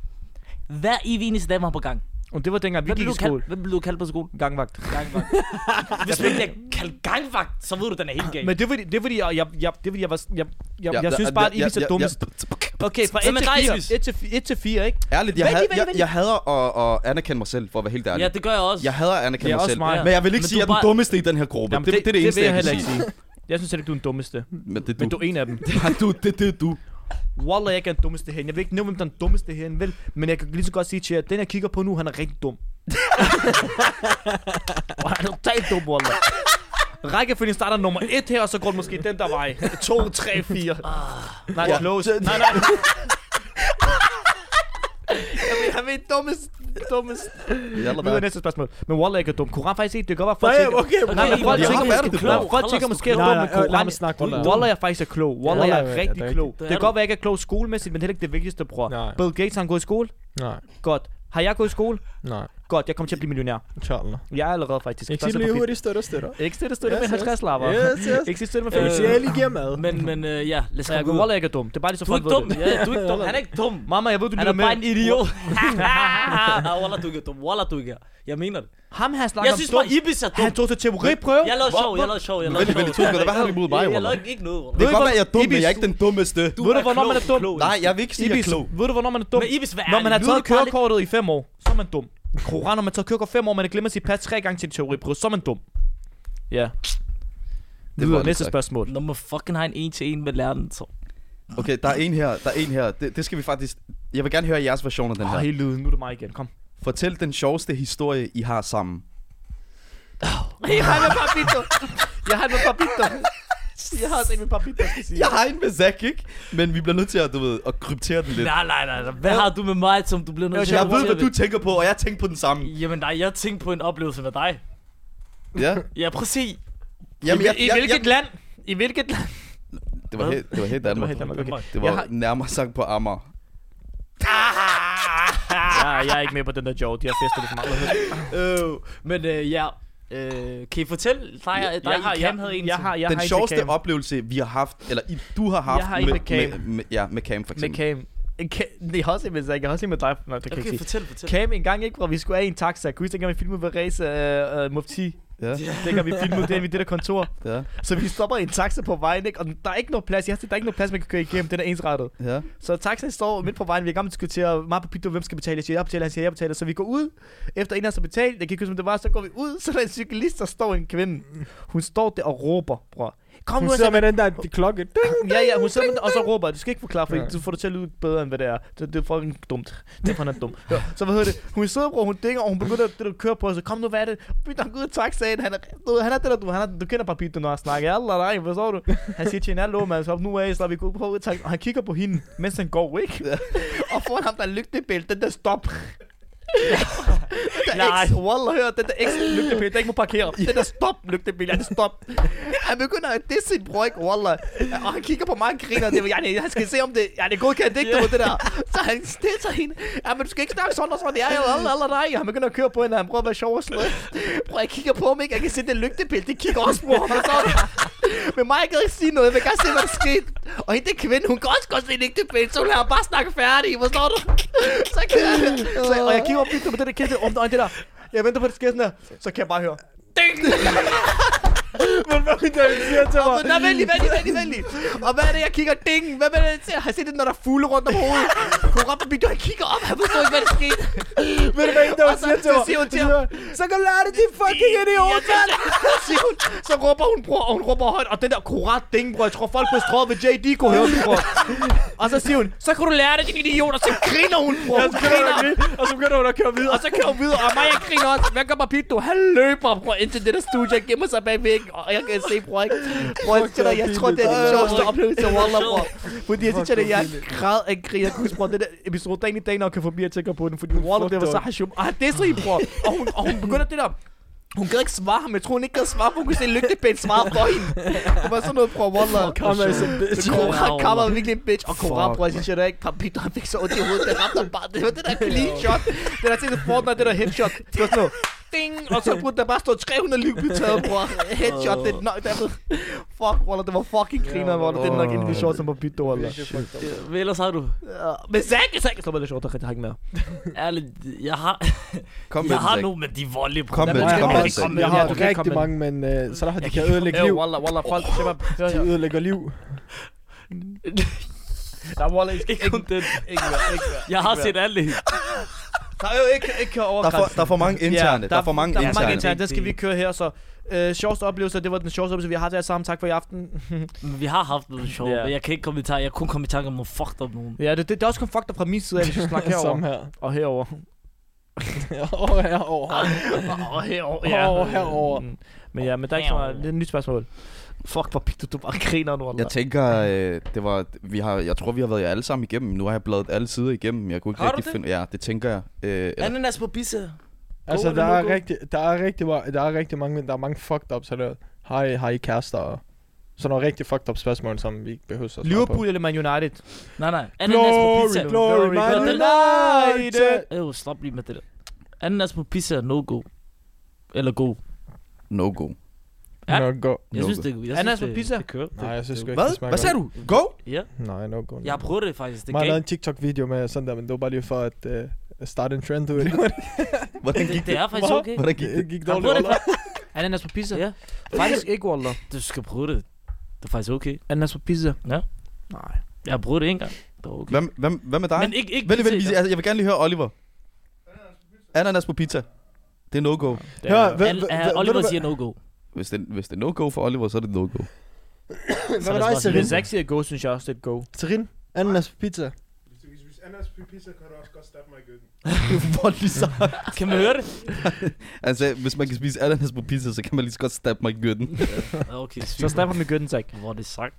Speaker 1: Hver evig eneste dag var han på gang.
Speaker 2: Og det var dengang, vi
Speaker 1: Hvad blev
Speaker 2: gik
Speaker 1: du
Speaker 2: i skole.
Speaker 1: kaldt, hvad blev du kaldt på skolen?
Speaker 2: Gangvagt.
Speaker 1: Hvis du ikke bliver kaldt gangvagt, så ved du, den er helt gal.
Speaker 2: Men det er fordi, det er fordi, jeg, jeg, jeg, det er fordi, jeg, var, jeg, jeg,
Speaker 3: Ja,
Speaker 2: jeg, jeg
Speaker 3: ja,
Speaker 2: synes
Speaker 3: ja,
Speaker 2: bare, at
Speaker 3: ja,
Speaker 2: Ibis
Speaker 3: ja,
Speaker 2: er dummest.
Speaker 3: ja.
Speaker 2: Okay, fra
Speaker 1: Som en rejsvis.
Speaker 2: 1 til 4, 1 til 4, ikke?
Speaker 3: Ærligt, jeg,
Speaker 2: Vent lige,
Speaker 3: had,
Speaker 2: vent lige,
Speaker 3: jeg,
Speaker 2: vent lige.
Speaker 3: jeg hader at, at anerkende mig selv, for at være helt ærlig.
Speaker 1: Ja, det gør jeg også.
Speaker 3: Jeg hader at
Speaker 2: Det
Speaker 3: anerkende
Speaker 2: er
Speaker 3: mig
Speaker 2: også
Speaker 3: selv.
Speaker 2: mig.
Speaker 3: Men jeg vil ikke
Speaker 1: Men
Speaker 3: sige,
Speaker 1: du
Speaker 3: at jeg er den
Speaker 1: bare-
Speaker 3: dummeste i den her gruppe.
Speaker 2: Jamen,
Speaker 3: det, det, er det
Speaker 2: det
Speaker 3: eneste,
Speaker 2: vil jeg
Speaker 3: jeg
Speaker 2: heller
Speaker 3: kan
Speaker 2: ikke
Speaker 3: sige.
Speaker 2: sige. Jeg synes ikke, du er den dummeste.
Speaker 3: Men det er
Speaker 2: Men
Speaker 3: du.
Speaker 2: du er en af dem.
Speaker 3: Men du, det, det er du.
Speaker 2: Wallah, jeg ikke er den dummeste herinde. Jeg vil ikke nævne, hvem der er den dummeste herinde, vel? Men jeg kan lige så godt sige til jer, at den, jeg kigger på nu, han er rigtig dum. og han er totalt dum, Wallah. Rækkefølgen starter nummer 1 her, og så går den måske den der vej. 2, 3, 4. Nej,
Speaker 3: Ja.
Speaker 2: close. Nej, nej. [laughs] Jeg ved, dummest, dummest.
Speaker 3: Jalla,
Speaker 2: Videre
Speaker 3: hvad?
Speaker 2: næste spørgsmål. Men Wallah ikke er dum. Koran faktisk ikke. Det kan godt være, folk
Speaker 6: Nej,
Speaker 2: tænker...
Speaker 6: okay.
Speaker 1: Okay,
Speaker 2: Nej, men
Speaker 1: I
Speaker 2: folk
Speaker 1: var-
Speaker 3: tænker
Speaker 1: I var
Speaker 3: måske-
Speaker 1: sgu
Speaker 3: Hvorfor
Speaker 1: klog.
Speaker 2: Folk
Speaker 1: Hold
Speaker 2: tænker
Speaker 1: os
Speaker 2: måske,
Speaker 1: sgu
Speaker 2: at
Speaker 1: klog.
Speaker 2: jeg er
Speaker 6: Nej,
Speaker 2: dum,
Speaker 6: nej,
Speaker 2: men
Speaker 6: øh, lad
Speaker 2: Koran...
Speaker 6: mig snakke ud.
Speaker 2: Wallah, jeg faktisk er klog. Wallah, jeg
Speaker 6: Wallah, ja, det
Speaker 2: er
Speaker 6: er
Speaker 2: rigtig
Speaker 6: rigtigt.
Speaker 2: klog.
Speaker 1: Det er
Speaker 2: Det kan
Speaker 1: du.
Speaker 2: godt være, jeg ikke er klog skolemæssigt, men heller ikke det vigtigste, bror.
Speaker 5: Nej.
Speaker 2: Bill Gates, han går i skole.
Speaker 5: Nej,
Speaker 2: Godt. Har jeg gået i skole?
Speaker 5: nej.
Speaker 2: Godt, jeg kommer til at blive millionær.
Speaker 5: Tjallner.
Speaker 2: Jeg er allerede faktisk.
Speaker 6: Ikke
Speaker 2: Første
Speaker 6: sige lige
Speaker 2: profil.
Speaker 6: hurtigt, støtter, støtter.
Speaker 2: Ikke stille støtte
Speaker 6: Yes,
Speaker 2: med
Speaker 6: yes.
Speaker 2: 50 lapper.
Speaker 6: Yes, yes.
Speaker 2: Ikke stille med
Speaker 1: Øh,
Speaker 2: 50
Speaker 6: Hvis jeg lige giver mad.
Speaker 1: Men, men øh, ja, lad os
Speaker 2: Så jeg
Speaker 1: gå
Speaker 2: går
Speaker 1: ud.
Speaker 2: Wallah, jeg ikke er dum. Det er bare lige så
Speaker 1: Du er
Speaker 2: folk
Speaker 1: ikke
Speaker 2: ved
Speaker 1: dum.
Speaker 2: det.
Speaker 1: Ja, du er ikke dum. Han er ikke dum.
Speaker 2: [laughs] Mamma, jeg ved, du
Speaker 1: Han er
Speaker 2: lytter
Speaker 1: bare en
Speaker 2: med.
Speaker 1: idiot. [laughs] Wallah, du ikke er Ah, dum. Wallah, du ikke er. Jeg mener det.
Speaker 2: Ham her snakker
Speaker 1: Jeg
Speaker 2: om
Speaker 1: synes
Speaker 2: dum.
Speaker 1: bare, Ibis er
Speaker 2: Han
Speaker 1: dum.
Speaker 2: tog til teoriprøve.
Speaker 1: Jeg lavede sjov, jeg lavede sjov, jeg
Speaker 3: Men
Speaker 1: lavede sjov.
Speaker 3: vent, vent, to sekunder. Hvad har du imod mig,
Speaker 1: Jeg
Speaker 3: Wallah?
Speaker 1: lavede ikke noget,
Speaker 3: Det
Speaker 1: Wallah.
Speaker 3: kan godt være, jeg er dum, men
Speaker 2: Ibis-
Speaker 3: jeg er ikke den dummeste.
Speaker 1: Du
Speaker 2: Ved du, hvornår man er dum?
Speaker 1: klog.
Speaker 3: Nej, jeg vil ikke sige, at jeg
Speaker 2: Ibis,
Speaker 3: er klog.
Speaker 2: ved du, hvornår man er dum?
Speaker 1: Men Ibis, vær
Speaker 2: Når man har
Speaker 1: ærlig.
Speaker 2: taget
Speaker 1: Lyder bare lidt-
Speaker 2: kørekortet i fem år, så er man dum. Koran, når man tager kørekort fem år, man har glemt at sige pas tre gange til en teoriprøve, så er man dum. Ja. Det
Speaker 3: var
Speaker 2: var
Speaker 3: lidt
Speaker 2: næste
Speaker 3: sagt.
Speaker 2: spørgsmål.
Speaker 1: Når man fucking har en en til en med læreren, så.
Speaker 3: Okay, der er en her. Der er en her. Det, det skal vi faktisk... Jeg vil gerne høre jeres version af den
Speaker 2: Åh,
Speaker 3: her.
Speaker 2: hele lyden. Nu er det mig igen. Kom.
Speaker 3: Fortæl den sjoveste historie, I har sammen.
Speaker 2: Jeg har med papito. Jeg har med papito. Jeg har også en med papito, skal sige.
Speaker 3: Jeg har en med Zack, ikke? Men vi bliver nødt til at, du ved, at kryptere den lidt.
Speaker 1: Nej, nej, nej. nej. Hvad har du med mig, som du bliver nødt til
Speaker 3: Jeg
Speaker 1: at
Speaker 3: ved, hvad
Speaker 1: fortælle?
Speaker 3: du tænker på, og jeg tænker på den samme.
Speaker 1: Jamen nej, jeg tænkte på en oplevelse med dig.
Speaker 3: Ja.
Speaker 1: Ja, præcis.
Speaker 3: Jamen, jeg,
Speaker 2: I
Speaker 3: jeg,
Speaker 2: hvilket
Speaker 3: jeg,
Speaker 2: land? I hvilket land?
Speaker 3: det var helt, det var helt Danmark.
Speaker 2: Danmark, okay.
Speaker 3: Det
Speaker 2: Jeg
Speaker 3: var
Speaker 2: har-
Speaker 3: nærmere sagt på Amager.
Speaker 2: Ja, Ah, jeg er ikke med på den der joke. De har festet det for meget.
Speaker 1: Øh, men øh, ja. Øh, kan I fortælle dig, dig jeg har, Cam havde en
Speaker 2: jeg
Speaker 1: til?
Speaker 2: har, jeg
Speaker 3: Den
Speaker 2: har en til
Speaker 3: sjoveste
Speaker 2: Cam.
Speaker 3: oplevelse, vi har haft, eller I, du har haft
Speaker 2: Jeg har en med Cam.
Speaker 3: Med, med, ja, med Cam for
Speaker 2: Med
Speaker 3: eksempel.
Speaker 2: Cam. En Cam- Jeg har også en med Zack. Jeg har også en med dig. Nej, det kan jeg
Speaker 1: Okay,
Speaker 2: ikke sige.
Speaker 1: fortæl, fortæl.
Speaker 2: Cam en gang ikke, hvor vi skulle af i en taxa. Kan du huske, dengang vi filmede ved race øh, øh, Mufti?
Speaker 3: Ja,
Speaker 2: Dengang vi filmede det i det der kontor.
Speaker 3: ja,
Speaker 2: Så vi stopper i en taxa på vejen, ikke? Og den- der er ikke noget plads. Jeg siger, der er ikke noget plads, man kan køre igennem. Den er ensrettet.
Speaker 3: ja.
Speaker 2: Så taxaen står midt på vejen. Vi er i gang med at diskutere meget på pito, hvem skal betale. Jeg siger, jeg betaler. Han siger, jeg betaler. Så vi går ud. Efter en af os har betalt, jeg kan ikke huske, om det var, så går vi ud. Så er der en cyklist, der står en kvinde. Hun står der og råber, bror. Kom
Speaker 5: Hun
Speaker 2: nu,
Speaker 5: sidder
Speaker 2: altså,
Speaker 5: med den der de klokke. Ding!
Speaker 2: [laughs] Ja, ja, hun sidder med den, og så råber, jeg. du skal ikke forklare, for
Speaker 5: Ja.
Speaker 2: du får det til at lyde bedre, end hvad det er. Det, det er fucking dumt. Det er fucking dumt. Ja. Så hvad hedder det? Hun sidder, bror, hun dænger, og hun begynder at det, du kører på, så kom nu, hvad er det? Bytter han ud af taxaen, han er, du, ved, han er det der, du, han er, du kender papito, når han snakker. Allah, nej, hvad så du? Han siger til hende, hallo, mand, så op nu af, så vi går på ud af taxaen, og han kigger på hende, mens han går, ikke? og foran ham, der er lygtepæl, den der stop. Nej, Wallah, hør, den der ekstra lygtepæl, der ikke må parkere. Den der stop lygtepæl, ja, det er stop. Han begynder at disse sin bror, ikke? Wallah. Og han kigger på mig og griner, det var, yani, han skal se om det, ja, det er godkendt ikke, yeah. det der. Så han stiller hende, ja, men du skal ikke snakke sådan og sådan, ja, jo, Allah, Allah, nej. Han begynder at køre på hende, og han prøver at være sjov og sådan noget. Bror, jeg kigger på ham, ikke? Jeg kan se den lygtepæl, det kigger også på ham, og så men mig, jeg gad ikke sige noget, jeg vil gerne se, hvad der skete. Og hende der kvinde, hun kan også godt se en lygtepæl, så hun lader ham bare snakke færdig, forstår du? så kan jeg, så, og jeg kigger op på det der kæde, om der det der. Jeg venter på, at det sker sådan her. Så kan jeg bare høre. Og så, nej, vent lige, vent lige, vent lige, vent lige. Og hvad er det, jeg kigger? Ding! Hvad er det, jeg ser? Har jeg set det, når der er fugle rundt om hovedet? Hun råbte på han kigger op, han forstår ikke, hvad der skete.
Speaker 5: Ved du hvad en dag
Speaker 2: Og så-
Speaker 5: siger til
Speaker 2: så
Speaker 5: mig?
Speaker 2: siger hun til
Speaker 5: Hun
Speaker 2: ham,
Speaker 5: siger, Så kan du lære det, de fucking idiot!
Speaker 2: Ja, det- det [laughs] siger hun. Så råber hun, bror, og hun råber højt, og den der kurat ding, bror, jeg tror folk på strået ved JD kunne høre det, bror. Og så siger hun, så kan du lære det, din idiot, og så griner hun, bror, hun griner.
Speaker 5: Og så begynder hun at køre videre.
Speaker 2: Og så kører hun videre, og mig, jeg griner også. Hvad gør Papito? Han løber, bror, ind til det der studie, jeg gemmer sig bag væggen, og jeg kan se, bror, ikke? Bror, jeg, siger dig, jeg tror, det er den sjoveste oplevelse, jeg Wallah, bror. Fordi jeg synes, at jeg græd af grin. Jeg kunne huske, bror, den der episode dag i dag, når jeg kan forbi at tænke på den, fordi Wallah, det var så hashum. Og han disser hende, bror, og hun, og hun begynder det der. Hun gad ikke svare ham. Jeg tror, hun ikke gad svare, for hun kunne se lygtepænt svare for hende. Det var sådan noget, bror, Wallah.
Speaker 5: Come as a bitch.
Speaker 2: Kora
Speaker 1: Wow.
Speaker 2: kommer virkelig en bitch, og Kora,
Speaker 3: Fuck,
Speaker 2: bror, jeg synes, jeg der ikke, Papito, han fik så ondt i hovedet, det ramte ham bare, det var det der clean shot, det der til Fortnite, det der headshot, det var sådan noget, ding, og så burde der bare stå 300 liv blevet taget, bror, headshot, det er nok, der ved, fuck, Waller, det var fucking griner, Waller, det er nok en af de shorts, som Papito, Waller.
Speaker 1: Øh, Hvad ellers har du?
Speaker 2: Ja, Men Zack, Zack, så var det sjovt, der kan jeg ikke mere.
Speaker 1: Ærligt, jeg har,
Speaker 3: Kom med
Speaker 1: jeg
Speaker 3: den,
Speaker 1: har
Speaker 3: Zack.
Speaker 1: nogle, men de er voldelige.
Speaker 3: Kom med den, kom
Speaker 5: Jeg
Speaker 3: med
Speaker 5: har
Speaker 3: den,
Speaker 5: også-
Speaker 3: Zack.
Speaker 5: jeg
Speaker 2: Ja,
Speaker 5: har
Speaker 2: du kan ikke
Speaker 5: rigtig
Speaker 2: komme
Speaker 5: mange, men øh, så der har de
Speaker 1: Jeg
Speaker 5: kan
Speaker 1: kan-
Speaker 5: ødelægge
Speaker 2: Jo,
Speaker 5: liv.
Speaker 2: Waller, Waller, folk, det var, hør,
Speaker 5: De
Speaker 2: hør.
Speaker 5: ødelægger liv.
Speaker 2: Der er Waller, ikke,
Speaker 1: Ikke kun den.
Speaker 2: ikke mere, ikke mere.
Speaker 1: Jeg har set alle.
Speaker 2: Der er jo ikke, ikke over
Speaker 3: Der er, for, der er for mange interne. der, er for mange
Speaker 2: der er for mange
Speaker 3: interne.
Speaker 2: interne. Den skal vi køre her, så øh, sjoveste oplevelse, det var den sjoveste oplevelse, vi har haft her sammen. Tak for i aften.
Speaker 1: Men Vi har haft noget sjovt,
Speaker 2: Ja.
Speaker 1: men jeg kan ikke komme i tanke. Jeg kunne komme i tanke om nogle fucked up nogen.
Speaker 2: Ja, det, det, det er også kun fucked up fra min side, at vi skal snakke [laughs]
Speaker 5: Samme
Speaker 2: herover.
Speaker 5: her.
Speaker 2: Og herover.
Speaker 5: Over herover.
Speaker 2: Og herover,
Speaker 5: Og herover.
Speaker 2: Mm. Men ja, men der er ikke så meget. Det er et nyt spørgsmål. Fuck, hvor pigt du, du bare griner nu.
Speaker 3: Jeg tænker, øh, det var, vi har, jeg tror, vi har været jer alle sammen igennem. Nu har jeg bladet alle sider igennem. Jeg kunne ikke
Speaker 1: Har du
Speaker 3: rigtig
Speaker 1: det?
Speaker 3: finde... Ja, det tænker jeg. Øh, eller,
Speaker 1: Ananas på bisse.
Speaker 5: Altså,
Speaker 1: Go eller
Speaker 5: der
Speaker 1: no
Speaker 5: er,
Speaker 1: go?
Speaker 5: rigtig, der, er rigtig, ma- der er rigtig mange, men der er mange fucked ups, eller har I, har I kærester og sådan nogle rigtig fucked up spørgsmål, som vi ikke behøver at svare på.
Speaker 2: Liverpool eller Man United?
Speaker 1: Nej, nej. Ananas på
Speaker 5: Glory,
Speaker 1: pizza.
Speaker 5: glory, Man
Speaker 1: Hvordan-
Speaker 5: United!
Speaker 1: Øh, stop lige med det der. Ananas på pizza er no-go. Eller god.
Speaker 3: no go.
Speaker 1: Ja.
Speaker 5: No go.
Speaker 1: Jeg
Speaker 3: No
Speaker 1: synes,
Speaker 3: go.
Speaker 1: det, jeg synes,
Speaker 2: Ananas på
Speaker 1: det-
Speaker 2: pizza?
Speaker 1: Det kører.
Speaker 5: Nej, jeg synes sgu ikke, det
Speaker 3: Hvad?
Speaker 5: smager
Speaker 3: Hvad sagde
Speaker 5: godt.
Speaker 3: du? Go?
Speaker 1: Ja,
Speaker 5: Nej, no go.
Speaker 1: jeg har prøvet det faktisk. Det
Speaker 5: Man har
Speaker 1: gav
Speaker 5: lavet en TikTok-video med sådan der, men det var bare lige for at øh, starte en trend, du
Speaker 3: [laughs]
Speaker 5: ved.
Speaker 3: Hvordan
Speaker 1: det,
Speaker 3: gik
Speaker 1: det
Speaker 3: det?
Speaker 1: er faktisk okay.
Speaker 3: Hvordan gik det?
Speaker 5: det gik
Speaker 1: Jeg
Speaker 5: dårligt.
Speaker 1: prøver det
Speaker 5: Wallah.
Speaker 2: Ananas på pizza?
Speaker 1: Ja.
Speaker 2: Faktisk ikke, Waller.
Speaker 1: Du skal prøve det. Det er faktisk okay.
Speaker 2: Ananas på pizza?
Speaker 1: Ja.
Speaker 2: Nej.
Speaker 1: Jeg har prøvet det en gang. Det var okay.
Speaker 3: Hvem, hvem, hvem er dig?
Speaker 1: Men ikke, ikke
Speaker 3: Vent, vent,
Speaker 1: pizza.
Speaker 3: vi- altså, jeg vil gerne lige høre Oliver. Ananas på pizza. Det er no-go.
Speaker 5: Hør,
Speaker 1: Al-
Speaker 5: hvem-
Speaker 1: al-
Speaker 5: hvem- hvem-
Speaker 1: Oliver
Speaker 5: ved du
Speaker 1: siger no-go.
Speaker 3: Hvis det, hvis det er no-go for Oliver, så er det no-go.
Speaker 1: er
Speaker 5: Hvad med
Speaker 1: det
Speaker 5: dig,
Speaker 1: smart.
Speaker 5: Serin?
Speaker 2: Hvis Zack siger go, synes jeg også, det er et go.
Speaker 5: Serin? Ananas på
Speaker 3: [laughs]
Speaker 5: pizza.
Speaker 7: Hvis, hvis, hvis Anders pizza, kan du også godt stappe mig i gøkken.
Speaker 3: Voldelig så.
Speaker 1: Kan man høre det?
Speaker 3: Altså, hvis man kan spise ananas på pizza, så kan man lige så godt stabbe mig i gyrten.
Speaker 1: Okay, sygt.
Speaker 2: Så snapper med Gøtten, Zack.
Speaker 1: Hvor er det sagt?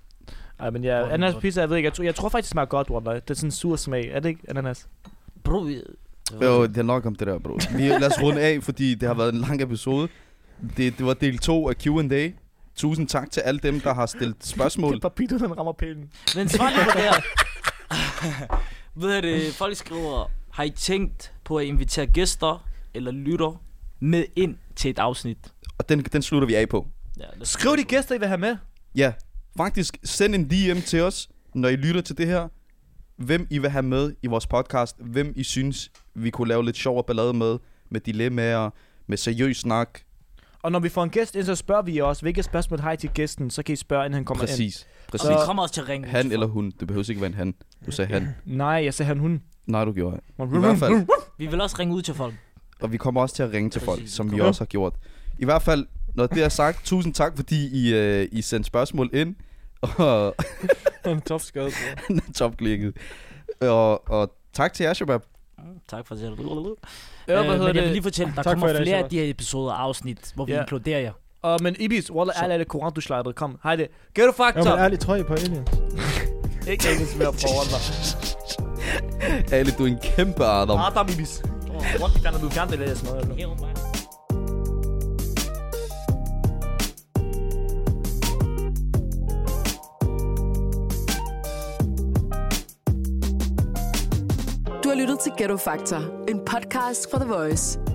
Speaker 2: Ej, men ja,
Speaker 1: Hvor er det
Speaker 2: ananas på
Speaker 1: godt.
Speaker 2: pizza, jeg ved ikke. Jeg tror, jeg tror faktisk, det smager godt, Waller. Det er sådan en sur smag. Er det ikke ananas?
Speaker 1: Bro, jeg-
Speaker 3: Jo, det er nok om det der, bro. Vi, lad os runde af, fordi det har været en lang episode. Det, det var del 2 af Q&A. Tusind tak til alle dem, der har stillet spørgsmål.
Speaker 2: Det er papito, den rammer pælen.
Speaker 1: Men svar lige på det her. [laughs] Ved jeg det, folk skriver, har I tænkt på at invitere gæster eller lytter med ind til et afsnit?
Speaker 3: Og den, den slutter vi af på.
Speaker 1: Ja, lad os-
Speaker 2: Skriv de gæster, I vil have med.
Speaker 3: Ja, faktisk send en DM til os, når I lytter til det her. Hvem I vil have med i vores podcast. Hvem I synes, vi kunne lave lidt sjov og ballade med. Med dilemmaer, med seriøs snak.
Speaker 2: Og når vi får en gæst ind, så spørger vi jer også, hvilke spørgsmål har I til gæsten, så kan I spørge, inden han kommer ind.
Speaker 3: Præcis.
Speaker 1: Og vi
Speaker 3: Præcis.
Speaker 2: Så-
Speaker 1: kommer også til at ringe.
Speaker 3: Han eller hun. Det behøver ikke være en han. Du sagde han.
Speaker 2: Nej, jeg sagde han hun. Øh,
Speaker 3: Nej, du gjorde det. I hvert fald.
Speaker 1: Vi vil også ringe ud til folk.
Speaker 3: Og vi kommer også til at ringe til folk,
Speaker 1: Præcis.
Speaker 3: som vi
Speaker 1: Kom.
Speaker 3: også har gjort. I hvert fald, når det er sagt, tusind tak, fordi I, øh, I sendte spørgsmål ind. [laughs] Og
Speaker 5: Han er topskadet, bro.
Speaker 3: topklikket. Og, og tak til jer, Shabab.
Speaker 1: Mm, Tak for det. Øh,
Speaker 2: Ja, hvad hedder
Speaker 1: men jeg vil
Speaker 2: det?
Speaker 1: lige fortælle, der
Speaker 5: Tak for
Speaker 1: kommer
Speaker 5: i dag,
Speaker 1: flere af
Speaker 5: Shabab.
Speaker 1: de her episoder og afsnit, hvor vi
Speaker 2: Ja.
Speaker 1: inkluderer jer.
Speaker 2: Og, men Ibis, Walla,
Speaker 1: Så-
Speaker 2: alle er det koran, du slidede. Kom, hej det. Get a
Speaker 5: Ja, men
Speaker 2: factor.
Speaker 5: ærligt, tror I på alien?
Speaker 2: Ikke ikke mere på Walla.
Speaker 3: Ali, du er en kæmpe Adam.
Speaker 2: Adam Ibis. Åh, What, kan du fjerne det, der smadrer nu?
Speaker 4: Du har lyttet til Ghetto Factor, en podcast fra The Voice.